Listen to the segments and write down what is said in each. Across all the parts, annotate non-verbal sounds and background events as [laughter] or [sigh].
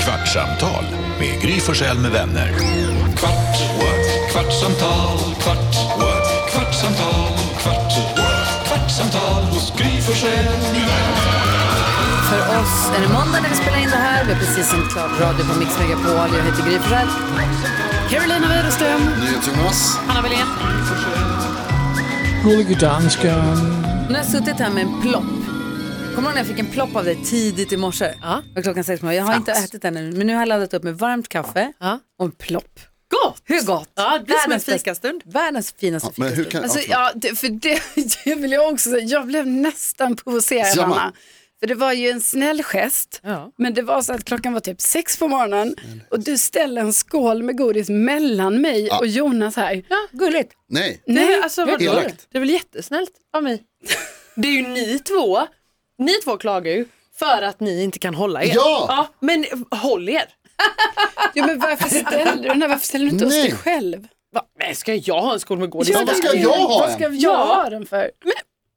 Kvartsamtal med Gry Forssell med vänner. Kvart, what? kvartsamtal, kvart, what? kvartsamtal, kvart, what? kvartsamtal hos Gry Forssell med vänner. För oss är det måndag när vi spelar in det här. Vi har precis sänt klart radio på Mix Megapol. Jag heter Gry Forssell. Carolina Widerström. Jonas. Anna Wallén. Gullige dansken. Nu har jag suttit här med en plopp. Kommer du ihåg när jag fick en plopp av dig tidigt i morse? Ja. klockan sex på morgonen. Jag har inte ätit den ännu, men nu har jag laddat upp med varmt kaffe och en plopp. Gott! Hur gott? Ja, det blir som en bästa- fikastund. Världens finaste men hur fikastund. kan- Alltså, ja, det, för det, [laughs] det vill jag också säga. Jag blev nästan provocerad, Samma. Anna. För det var ju en snäll gest, Ja. men det var så att klockan var typ sex på morgonen och du ställde en skål med godis mellan mig och Jonas här. Gulligt. Nej, Nej, alltså vadå? elakt. Det är väl jättesnällt [laughs] av mig. Det är ju ni två, ni två klagar ju för att ni inte kan hålla er. Ja! men håll er. Jo, men varför ställde du den här? Varför ställde du inte oss Nej. dig själv? Va? Men ska jag ha en skål med godis? Ja, vad ska jag ha Mm. Vad ska en? jag ha den för?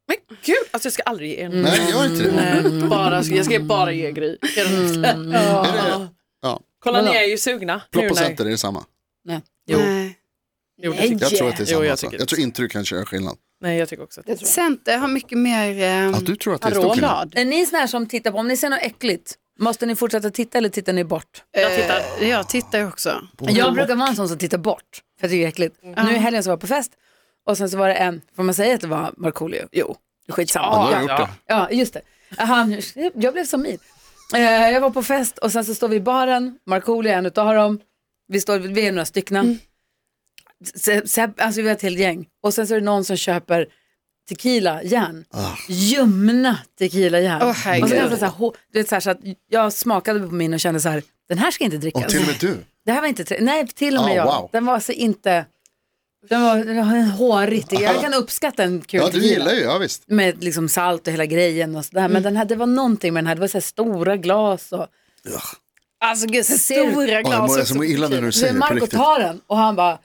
Men gud, alltså jag ska aldrig ge er en. Nej, gör inte det. Nej, [laughs] bara, jag ska bara ge Gry. Ge den inte. Är det, ja, Kolla, ni är ju sugna. nu plopp och när- center är det samma. Nej. Jo. Nej. Jo, det tycker jag. Jag tror att det är Jo, samma. jag alltså. tycker det. jag tror inte du kan köra skillnad. Nej, jag tycker också att det är Center har mycket mer eh, Att du tror att det är stor skillnad. aroblad. Är ni såna här som tittar på, om ni ser något äckligt, måste ni fortsätta titta eller tittar ni bort? Jag tittar. Eh, Jag tittar också. Jag brukar vara en sån som tittar bort, för jag tycker det är äckligt. Nu i helgen så var jag på fest och sen så var det en, får man säga att det var Markoolio? Jo, skitsamma. Ja, du har gjort Ja. det. Ja, just det. Han, jag blev som min. Eh, jag var på fest och sen så står vi i baren, Markoolio är en utav dem. Vi, står, vi är några stycken. Se, se, alltså vi är ett helt gäng. Och sen så är det någon som köper tequila järn. Ah. Ljumna tequila järn. Åh, och så herregud. ganska så här, hå- du vet, så här, så att jag smakade på min och kände så här, den här ska inte drickas. Och till och med du. Det här var inte tre- Nej, till och med Ah, jag. wow. Den var så inte... Den var, den var hårig. Jag kan uppskatta en kul Ja, du tequila gillar ju, Mm. ja visst. med liksom salt och hela grejen och sådär. Men den här, det var någonting med den här, det var så här stora glas och Alltså gud, stora Ja, jag mår glas jag mår illa nu när du så säger det på Marco riktigt. tar den och han bara,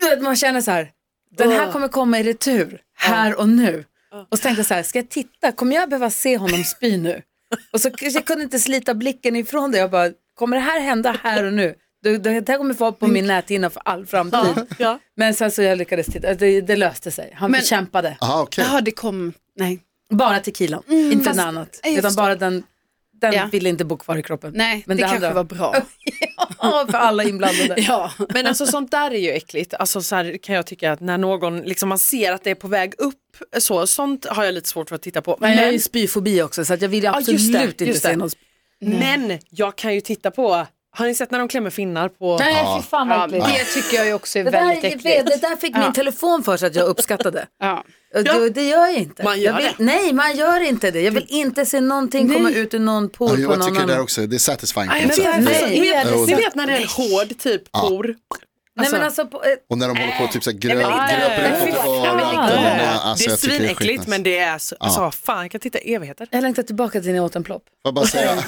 du vet, man känner så här, den här kommer komma i retur här och nu. Och så tänkte jag så här, ska jag titta, kommer jag behöva se honom spy nu? Och så jag kunde inte slita blicken ifrån det, jag bara, kommer det här hända här och nu? Det, det det här kommer få vara på min näthinna för all framtid. ja. Men sen så jag lyckades titta, det, det löste sig, han Men- kämpade. Jaha, okej. Jaha, det kom. Nej. Bara tequilan, Mm, inte något annat. jag Utan förstår. bara den, den Ja. ville inte bo kvar i kroppen. Nej, Men det, det kanske andra- var bra. [laughs] Ja, för alla inblandade. ja. Men alltså sånt där är ju äckligt. Alltså så här kan jag tycka att när någon, liksom man ser att det är på väg upp, så, sånt har jag lite svårt för att titta på. Men jag har ju spyfobi också så att jag vill ju absolut just det, inte just det. se någon spy. Men jag kan ju titta på, har ni sett när de klämmer finnar på? Nej, fy fan vad Ja, äckligt. det tycker jag ju också är Det väldigt där, det, äckligt. det där fick min telefon för sig att jag uppskattade. Ja. Och det, det gör jag inte. Man gör jag vill, det. Nej, man gör inte det. Jag vill inte se någonting komma ut ur någon pool Ja, på någon jag tycker det där annan. också, det är satisfying på Nej, något men sätt. varför? Nej, Ni vet- jo. Ni vet när det är en hård typ por. Nej, men alltså, på, eh, Och när de håller på och typ så här grö- Nej, men- gröper Nej, ut fy och fan. ligger det är svinäckligt men det är så, alltså, fan jag kan titta i evigheter. jag längtar tillbaka till när jag åt en plopp. Får jag bara säga.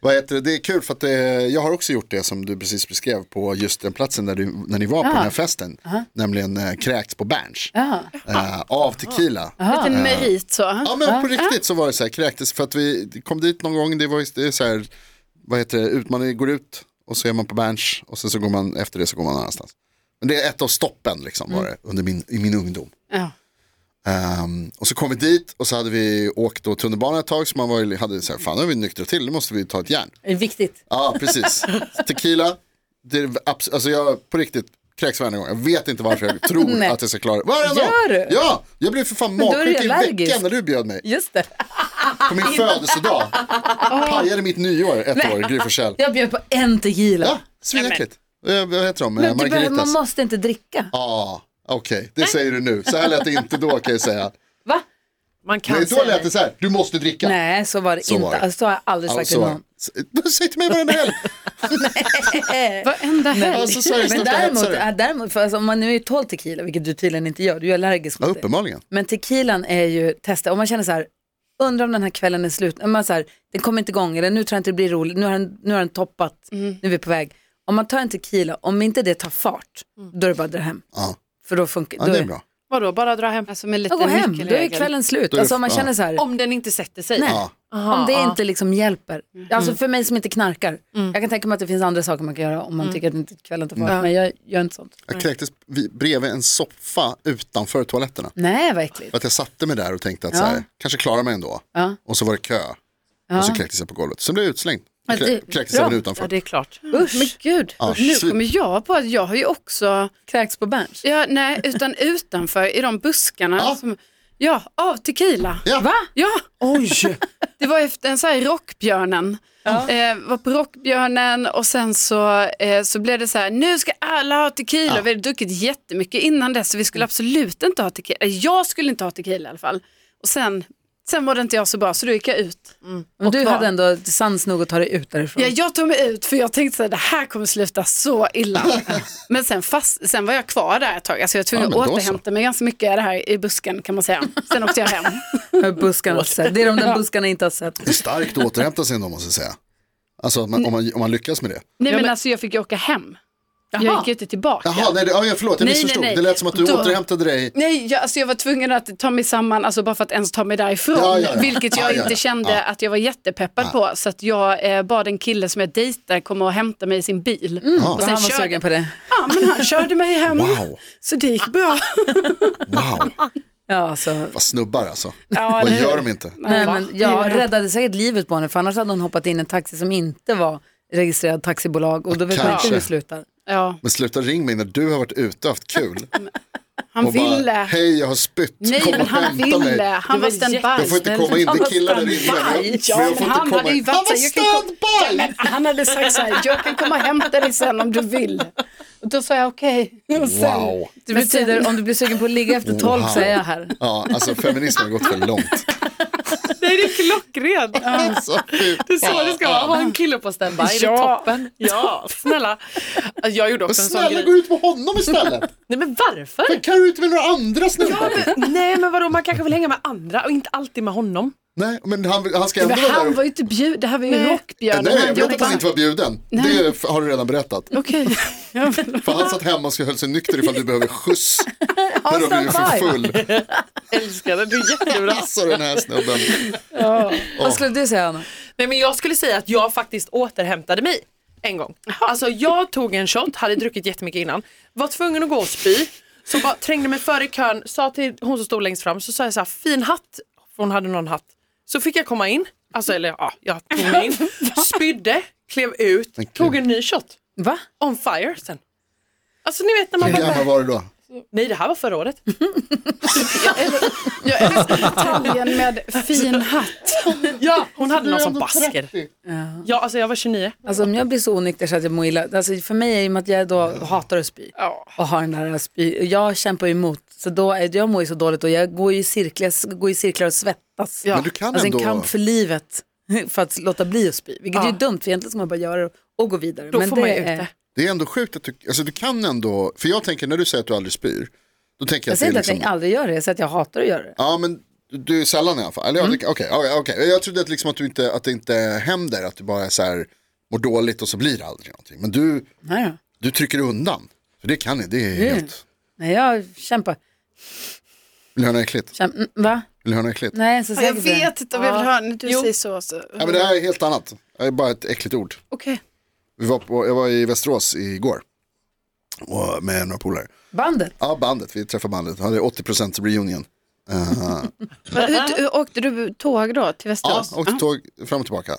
Vad heter det? det är kul för att det, jag har också gjort det som du precis beskrev på just den platsen där du, när ni var på den här festen. Nämligen eh, kräkts på Berns. Eh, av tequila. Lite merit så. Ja men på riktigt så var det så här, kräktes för att vi kom dit någon gång, det var ju det är så här, vad heter det, ut, man går ut och så är man på Berns och sen så går man, efter det så går man någon annanstans. Men det är ett av stoppen liksom var det, under min, i min ungdom. Ja. Ehm, och så kom vi dit och så hade vi åkt då tunnelbana ett tag så man var, ju- hade så här, fan nu har vi nyktrat till, nu måste vi ta ett järn. Det är viktigt. Ja, [laughs] precis. Tequila. Det är abs- alltså jag på riktigt kräks varje gång. Jag vet inte varför jag tror [laughs] Nej. att jag ska klara det. Varenda Gör gång. du? Ja, jag blev för fan då är du magsjuk i allergisk. veckan när du bjöd mig. Just det. [laughs] På min födelsedag. Pajade mitt nyår ett år, Gry Forssell. Jag bjöd på en tequila. Ja, svinäckligt. Eh, Vad heter de? Eh, men du behöver, Margaritas. man måste inte dricka. Ja, okej. Det säger du nu. Så här lät det inte då kan jag säga. Va? Man kan Nej, då säga lät det så här. Du måste dricka. Nej, så var det Så inte. var det. Alltså, så har jag aldrig Ja, sagt till så var det. någon. Så- [laughs] Säg till mig varenda helg. Varenda helg. [laughs] Alltså, så här, Men snacka däremot, hetsare. äh, däremot för alltså, om man nu är ju 12 tequila, vilket du tydligen inte gör, du är allergisk Ja, mot det. uppenbarligen. Men tequilan är ju testa, om man känner så här, undrar om den här kvällen är slut, om man så här, den kommer inte igång, eller nu tror jag inte det blir roligt, nu har den, nu har den toppat, nu är vi på väg. Om man tar en tequila, om inte det tar fart, då är det bara att dra hem. Ja, För då funkar ja då det är bra. Vadå, bara dra hem? Alltså med Ja, lite gå hem, då är nyckelregel. kvällen slut. Då är det- Alltså om man ja. känner så här, Om den inte sätter sig. nej, Ja. Aha, om det ja. inte liksom hjälper. Alltså för mig som inte knarkar. Jag kan tänka mig att det finns andra saker man kan göra om man tycker att inte- kvällen tar fart. Men jag gör inte sånt. Jag kräktes vi- bredvid en soffa utanför toaletterna. Nej, vad äckligt. För att jag satte mig där och tänkte att så här, kanske klarar mig ändå. Ja. Och så var det kö. Och så kräktes jag på golvet. Sen blev jag utslängd. Jag Ja, det- krä- kräktes även Ja, utanför. det är klart. Usch, Men gud, Ja, nu svin. kommer jag på att jag har ju också, kräks på Berns. ja, nej, utan utanför i de buskarna, Ja. som, ja, av tequila. Ja. Va? Ja, Oj! [laughs] det var efter en så här Rockbjörnen. Eh, var på Rockbjörnen och sen så, eh, så blev det så här, nu ska alla ha tequila. Vi hade druckit jättemycket innan dess så vi Mm. skulle absolut inte ha tequila. Eh, Jag skulle inte ha tequila i alla fall. Och sen, sen mådde inte jag så bra så då gick jag ut. Men du Och var. hade ändå sans nog att ta dig ut därifrån. Mm. Ja, jag tog mig ut för jag tänkte så här, det här kommer sluta så illa. [laughs] Men sen, fast, sen var jag kvar där ett tag. Alltså jag var tvungen Ja, men att då återhämta mig ganska mycket av det här i busken kan man säga. Sen åkte jag hem. [laughs] Med buskarna har sett. Det är de där buskarna inte har sett. Det är starkt att återhämta sig ändå måste jag säga. Alltså att man, om, man, om man lyckas med det. Nej men men- alltså jag fick ju åka hem. Jag gick ju inte tillbaka. Jaha, nej, det, ja, jag- förlåt, jag Nej, missförstod. nej, nej. Det lät som att du Då- [laughs] återhämtade dig. Nej, jag, alltså jag var tvungen att ta mig samman, alltså bara för att ens ta mig därifrån. Ja, ja, ja. Vilket jag Ja, ja, ja. inte kände Ja. att jag var jättepeppad på. Så att jag eh, bad en kille som jag dejtar komma och hämta mig i sin bil. Och Och han sen var körde, sugen på det. ja, men han körde mig hem. Mm. Wow, Så det gick [laughs] bra. wow. Ja, så. Vad snubbar alltså. Ja, Vad eller hur? gör de inte? Nej, va? men Det är jag det. räddade säkert livet på henne för annars hade hon hoppat in i en taxi som inte var registrerad taxibolag och då vet man inte Kanske. hur det slutar. Ja, Men sluta ring mig när du har varit ute och haft kul. [laughs] han Och bara, ville. hej jag har spytt, Nej, kom men och han hämta mig. ville. Han var Jag standby. får inte komma in, det är killar där inne. men jag- Ja, men jag men får inte han komma hade ju in. varit Han var så här, jag kan standby! Han hade sagt så här, jag kan komma och hämta dig sen om du vill. Och då sa jag okej. Och sen- Wow. Det betyder om du blir sugen på att ligga efter tolv Wow. så är jag här. Ja, alltså feminismen har gått [laughs] för långt. Nej, det är klockrent. Alltså, fy Det är så det ska vara. Ha en kille på standby. Det är Ja. toppen. Ja, snälla. Jag gjorde också en sån Snälla grej. gå ut med honom istället. Nej, men varför? Men kan du ut med några andra snubbar? Nej, men vadå, man kanske vill hänga med andra och inte alltid med honom. Nej, men han, han ska ändå Men vara där. han och- var ju inte bjuden, det här var ju Nej. Rockbjörnen. Nej, jag Han vet att han jobbade- inte var bjuden. Det har du redan berättat. Okej. För han satt hemma och höll sig nykter ifall du behöver skjuts. När du har blivit för standby. full. Älskar det, det är jättebra. Alltså den här snubben. Vad skulle du säga Anna? [laughs] Nej, men jag skulle säga att jag faktiskt återhämtade mig en gång. Alltså jag tog en shot, hade druckit jättemycket innan, var tvungen att gå och spy, så bara trängde mig före i kön, sa till hon som stod längst fram, så sa jag så här, fin hatt, för hon hade någon hatt. Så fick jag komma in, alltså eller ja, jag tog mig [laughs] in, spydde, klev ut, Men gud. tog en ny shot, Va? on fire sen. Alltså ni vet när man Hur bara, gammal var du då? nej det här var förra året. Jag älskar detaljen med fin hatt. Ja, hon hade någon som Ändå basker. 30. Ja, alltså jag var 29. Alltså om jag blir så onykter så att jag mår illa, alltså för mig är det i och med att jag då hatar att spy och har den där spy, jag kämpar ju emot, så då är, jag mår ju så dåligt och jag går ju i cirklar, går i cirklar och svettas. Men du kan alltså en ändå. kamp för livet [laughs] för att låta bli att spy, vilket är ju dumt för egentligen ska man bara göra det och gå vidare. Då får man ju är- ut det. Det är ändå sjukt att du, alltså du kan ändå, för jag tänker när du säger att du aldrig spyr, då tänker jag, Jag säger att inte att det är jag liksom, aldrig gör det, jag säger att jag hatar att göra det. Mm. ja men du är sällan i alla fall. Eller jag tycker- Okej, okej, okej. jag trodde att, liksom att, du inte, att det inte händer, att du bara är så här, mår dåligt och så blir det aldrig någonting. Men du, Nej, då. du trycker undan, för det kan ni, det är Mm. helt, Nej jag kämpar. vill du höra något äckligt? Kämp- mm, va? Vill du höra något äckligt? Nej, så Jag säkert inte. vet inte om jag vill höra när du Jo. säger så. så. Ja, men det här är helt annat, det är bara ett äckligt ord. Okej. Vi var på, jag var i Västerås igår och med några polare. Bandet? Ja, bandet, vi träffade bandet, hade 80% reunion. Eh, Men hur- hur Åkte du tåg då till ja, Västerås? åkte tåg fram och tillbaka.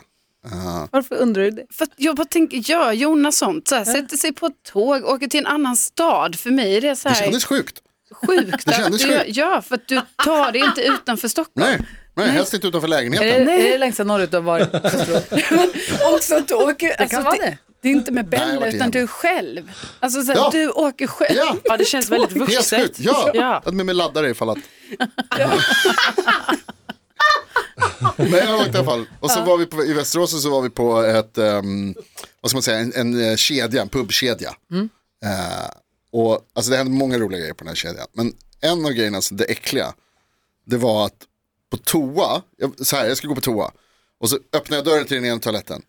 Varför undrar du det? För att jag bara tänker, gör Jonas sånt? Så här, sätter sig på ett tåg, åker till en annan stad. För mig är det så Det här kändes sjukt. sjukt. det att kändes du sjukt. gör- Ja, för att du tar det inte utanför Stockholm. Nej, nej, helst inte utanför Är lägenheten. det, är det längsta norrut du har [laughs] varit? Också att du åker... alltså, Det, kan vara det. det är inte med jag har Bella, varit utan du igen. är själv. Alltså, så här, Ja. du åker själv. Ja, Ja, det känns väldigt helt sjukt. vuxet. Ja, jag [laughs] Ja. hade med mig laddare ifall [laughs] att. Men jag åkte i alla fall. Och så var vi på, i Västerås och så var vi på ett, ehm, vad ska man säga, en, en eh, kedja, en pubkedja. Mm. Eh, och alltså det hände många roliga grejer på den här kedjan. Men en av grejerna, alltså, det äckliga, det var att på toa, jag, så här, jag ska gå på toa. Och så öppnar jag dörren till den ena toaletten.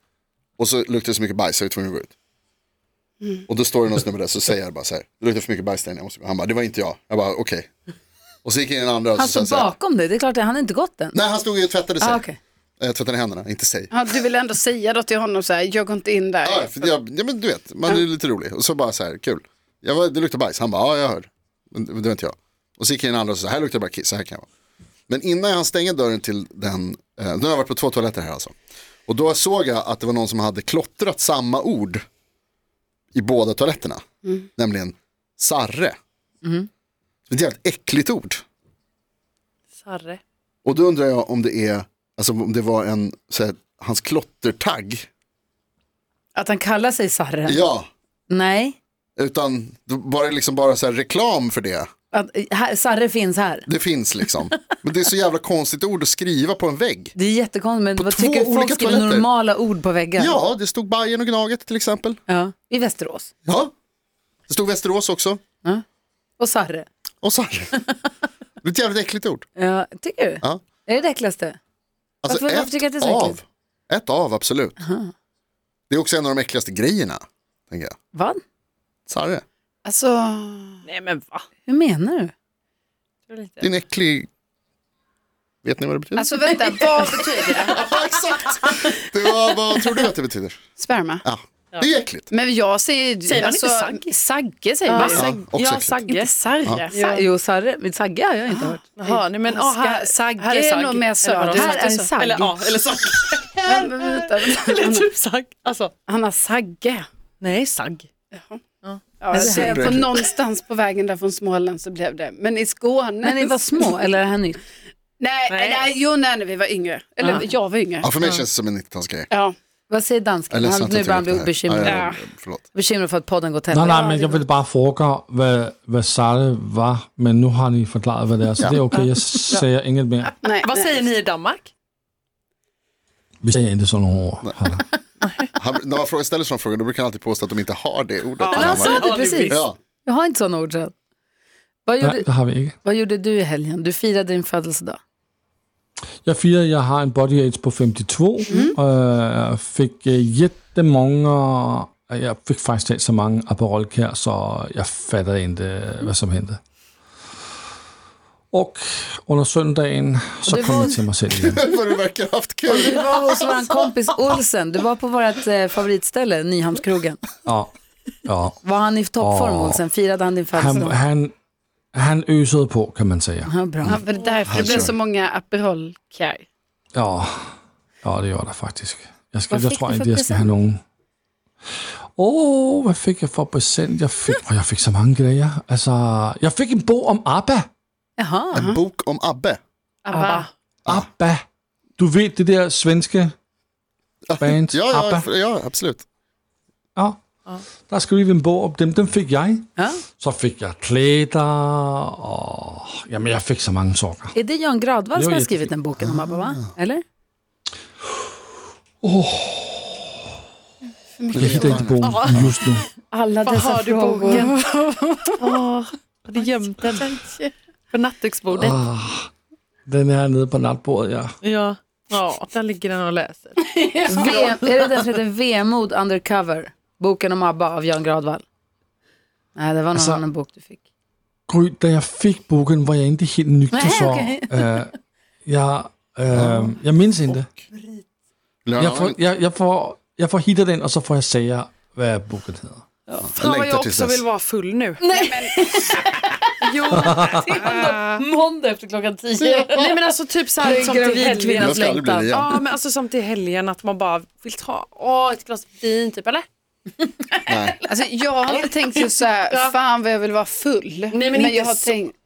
Och så luktar det så mycket bajs så jag är tvungen att gå ut. Mm. Och då står det någon snubbe där så säger jag bara så här, det luktar för mycket bajs där inne. jag måste gå." Han bara, det var inte jag. Jag bara, okej. Och så gick jag in i den andra och Han så sa står jag så här, bakom dig, det är klart att han har inte gått än. nej han stod ju och tvättade sig. Ah, okej. Eh, tvättar ni händerna, inte säg. Ja, du vill ändå säga då till honom så här, jag går inte in där. Ja, för jag, ja, men du vet, man är ju lite rolig. Och så bara så här, kul. Jag var, det luktar bajs, han bara, ja jag hörde. Men det men det var inte jag. Och så gick jag in i andra och så här luktar det bara kiss, så här kan jag vara. Men innan han stänger dörren till den, eh, nu har jag varit på två toaletter här alltså. Och då såg jag att det var någon som hade klottrat samma ord i båda toaletterna. Nämligen sarre. Mm. Ett jävligt äckligt ord. Sarre. Och då undrar jag om det är, alltså om det var en, så här, hans klottertagg. Att han kallar sig Sarre? Ja. Nej, Utan då var det liksom bara så här reklam för det. att, här, Sarre finns här. Det [laughs] finns liksom. Men det är så jävla konstigt ord att skriva på en vägg. Det är jättekonstigt, men På vad två tycker folk olika skriver toaletter. normala ord på väggen? Ja, det stod Bajen och Gnaget till exempel. Ja, I Västerås. Ja. Det stod Västerås också. Och Sarre. [laughs] Och så här. Det är ett jävligt äckligt ord. Ja, tycker du? Ja. Är det det äckligaste? Alltså Varför- varför ett tycker jag att det är så av. äckligt? Ett av, absolut. Det är också en av de äckligaste grejerna. Tänker jag. Vad? Sarre. Alltså, Nej men va? Hur menar du? Det är en äcklig... Vet ni vad det betyder? [laughs] alltså vänta, vad betyder det? [laughs] Ja, exakt. Det var, vad tror du att det betyder? Sperma? Ja. Det är äckligt. Men jag säger, Säger man alltså, inte sagge? sagge säger man. Ja, också ja, äckligt. Inte Sagge. sarre. Sa- jo, Sarre. Men Sagge har jag inte hört. Jaha, nej men ah, här, Sagge här är är sagg. nog mer söder. Eller vad de Här sa. är sagg. Eller ja, eller [laughs] sagg. Men vänta, Eller vänta. typ sagg. Alltså. Han har sagge. Nej, sagg. Ja, Alltså, så jag- det- på någonstans på vägen där från Småland så blev det. Men i Skåne. När ni var [laughs] små, eller är det här nytt? nej, nej. Nej. Ah. jo, nej, när vi var yngre. Eller jag var yngre. Ja, för mig känns det som en 90-talsgrej. Ja. Vad säger dansken? Eller Han, nu börjar han bli bekymrad. Ja, ja, förlåt. Bekymrad för att podden går tätt. Nej, nej, men jeg ville bare foregå, hvad, hvad Sarre var, men nu har ni forklaret, hvad det er, så det er okay. Jeg siger intet mere. Nej, Vad nej. säger ni i Danmark? Vi siger ikke sådan nogle ord. Heller. Han, när man frågar, ställer sådana frågor då brukar han alltid påstå att de inte har det ordet. Men han sa Ja, det det precis. visst. Ja, [laughs] Jag har inte sådana ord sen. Vad Nej, gjorde, det har vi ikke. vad gjorde du i helgen? Du firade din födelsedag. Jeg firer, jeg har en body age på 52, og fik øh, jättemange, jeg fik faktisk talt så mange Aperol her, så jeg fattede ikke, øh, hvad som hentede. Og under søndagen, så det kom var- jeg til mig selv [laughs] igen. vad du verkar ha haft kul. Du var hos vår kompis Olsen. Du var på vårt eh, favoritställe, Nyhamnskrogen. Ja, ja. Var han i toppform Åh. Olsen? Firade han din Han, födelsedag? han, han øsede på, kan man sige. Ja, bra. Ja, för det är därför det blev så många Aperol Care. Ja, ja det gjorde der faktisk. Jeg, skal, Hvad jeg fik tror du for egentlig, jeg skal have nogen. Åh, oh, hvad fik jeg for present? Jeg fik, oh, jeg fik så mange grejer. Altså, jeg fik en bog om ABBA. Jaha. En bok om Abbe. Abba. ABBA. Du ved, det der svenske band Ja, ja, ABBA. ja absolut. Ja. Der skrev vi en bog om dem. Den fik jeg. Ja. Så fik jeg klæder, og... Jamen, jeg fik så mange sokker. Är det Jan Gradvall som Jo, har jättefint. skrivit den boken om ABBA, va? Ah. Eller? Jeg hitter ikke bogen just nu. Alla Vad dessa har du frågor. boken? Åh, Har du gömt den på nattduksbordet? Den er nede på natbordet, ja. Ja. Ja, där ligger den och läser. VM, är det den som heter Vemod Undercover? Boken om ABBA av Jan Gradvall. Nej, det var någon Alltså- annan bok du fick. Gry, da jeg fik boken, var jeg ikke helt nykter, Nej, så okay. øh, jeg, øh, jeg mindes ikke. det. Vill du ha Jeg en får, annan? jeg, jeg, får, jeg får hitter den, og så får jeg sager, hvad boken hedder. Fan vad längtar jag tills också dess. vill vara full nu. Nej, men... jo, Måndag efter klockan tio. nej men alltså typ så här är som gravid till helgen. kvinna. Jag ska aldrig bli det igen. Ja men alltså som till helgen att man bara vill ta åh, ett glas vin typ eller? Nej. Alltså, jag har inte tänkt så, så [laughs] här, fan vad jag vill vara full. men inte jag, har så. tänkt,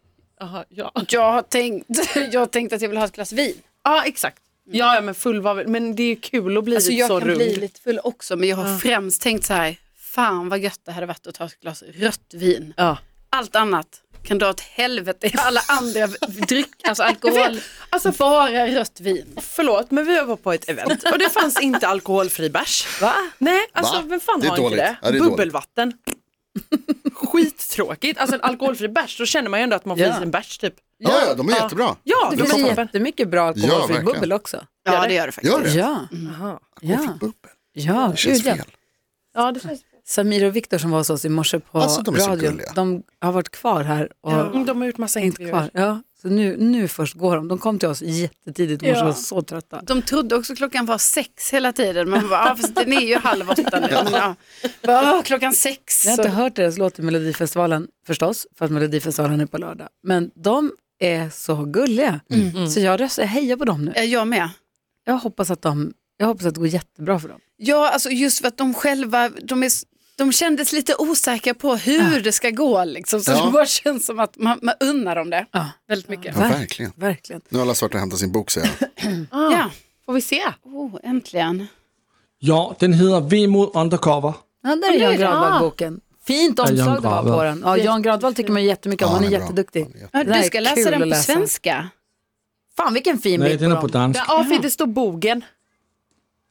Jaha, ja. jag, har tänkt, [laughs] jag har tänkt att jag vill ha ett glas vin. Ja exakt. Ja, ja men full var väl, men det är kul att bli Alltså, lite jag så kan rund. bli lite full också, men jag har främst tänkt så här, fan vad gött det hade varit att ta ett glas rött vin. Ja. Allt annat kan dra åt helvete. Alla andra dryck, alltså alkohol, Alltså bara rött vin. förlåt men vi var på ett event och det fanns inte alkoholfri bärs. Va? Nej alltså Va? vem fan Det är har inte dåligt. det? Ja, det är dåligt. Bubbelvatten. [laughs] Skittråkigt. Alltså en alkoholfri bärs då känner man ju ändå att man får i Ja. sig en bärs typ. Ja, ja, de är jättebra. Ja, Det det finns är toppen. jättemycket bra Ja, alkoholfri verkligen. bubbel också. Ja, det gör det faktiskt. Gör det? Ja, Jaha. ja, Bubbel. ja. Det känns gud, ja. fel. Ja, det känns... Samir och Viktor som var hos oss i morse på Alltså, de är så radion, gulliga. de har varit kvar här och Mm, De har gjort massa hängt intervjuer. kvar. Ja, Så nu, nu först går de. De kom till oss jättetidigt och Ja. ja. var så trötta. De trodde också klockan var sex hela tiden. Man bara, ah, fast den är ju halv åtta nu. Ja. Bara, "Ah, klockan sex. Jag har inte Så- hört deras låt i Melodifestivalen förstås, för att Melodifestivalen är på lördag. Men de är så gulliga. Mm. Så jag, röstar, jag hejar på dem nu. Ja, Jag med. Jag hoppas att, de, jag hoppas att det går jättebra för dem. Ja, alltså just för att de själva, de, är, s- de kändes lite osäkra på hur det ska gå. Liksom. Så Ja. det bara känns som att man, man unnar dem det Ja. väldigt mycket. Ja, verkligen. Verkligen. Nu har Lasse varit och hämtat sin bok säger jag. Ja, Får vi se? Oh, äntligen. Ja, den hedder Vemod Undercover. Ja, där är Ah. Jan Gradvall-boken. Fint Jan omslag det var på Gradvall. den. Ja, Jan Gradvall tycker man ju jättemycket om, Ja, han är han är bra. jätteduktig. Han är Det Ja, där du är ska kul läsa att den på läsa. svenska. Fan vilken fin Nej, bild den på är på dem. dansk. Ja, ja. för det står bogen.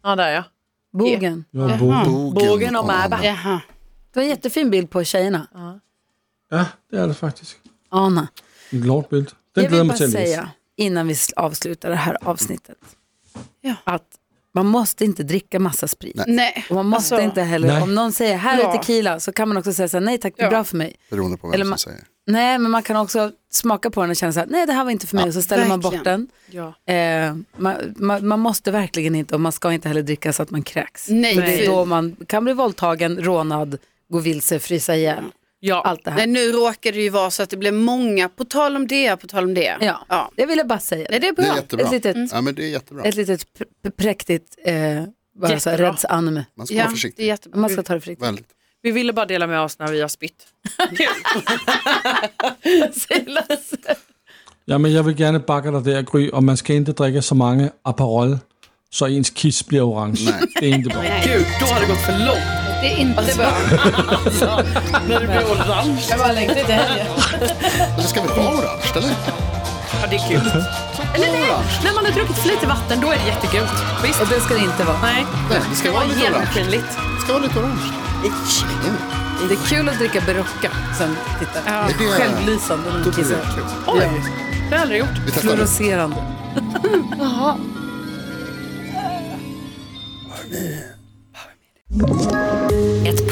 Ja, där ja. [laughs] Bogen. Ja, Bogen. Bogen om Abba. Jaha. Det var en jättefin bild på tjejerna. ja, det er det faktisk. Ana. En lortbild. Den jag glæder vill jeg mig bara til at læse. säga, innan vi sl- avslutar det här avsnittet, Ja. att man måste inte dricka massa sprit. Nej. Och man måste Alltså, inte heller, Nej. om någon säger här är Ja. tequila så kan man också säga så här, nej tack det är Ja. bra för mig. Beroende på vem Eller som ma- säger. Nej men man kan också smaka på den och känna så här, nej det här var inte för mig och så ställer man bort verkligen. den. Ja. Eh, man, man, man måste verkligen inte och man ska inte heller dricka så att man kräks. Nej, För det fy. är då man kan bli våldtagen, rånad, gå vilse, frysa ihjäl. Ja. Allt det här. Nej, nu råkar det ju vara så att det blev många, på tal om det, på tal om det. Ja. ja. Jag ville bara säga Nej, det är Det bra. är jättebra. Ett litet- ja, men det är jättebra. Ett litet pr- pr- präktigt eh, bara så här, Jättebra. räddsanime. Man ska Ja, vara det försiktig. är jättebra. Man ska ta det försiktigt. Väldigt. Vi ville bara dela med oss när vi har spytt. Jamen, jeg vil gerne bakke dig der, Gry, og man skal ikke drikke så mange Aperol, så ens kis bliver orange. Nej. Det er ikke bra. Gud, då har det gått för långt. Det är inte bra. När det blir orange. Jag bara längtar till helgen. Men det ska väl vara orange, eller? Ja, det är kul. Eller nej, när man har druckit för lite vatten då är det jättegult. Visst? Och det ska det inte vara. Nej, Nej, det det ska var vara lite orange. jättepinligt. Det ska vara lite orange. Mm, Det är kul att dricka Berocca. Sen titta. Det är det- Självlysande när Då man blir kissar. det kul. Oj, det har jag aldrig gjort. Vi testar det. [laughs] Fluorescerande. Ett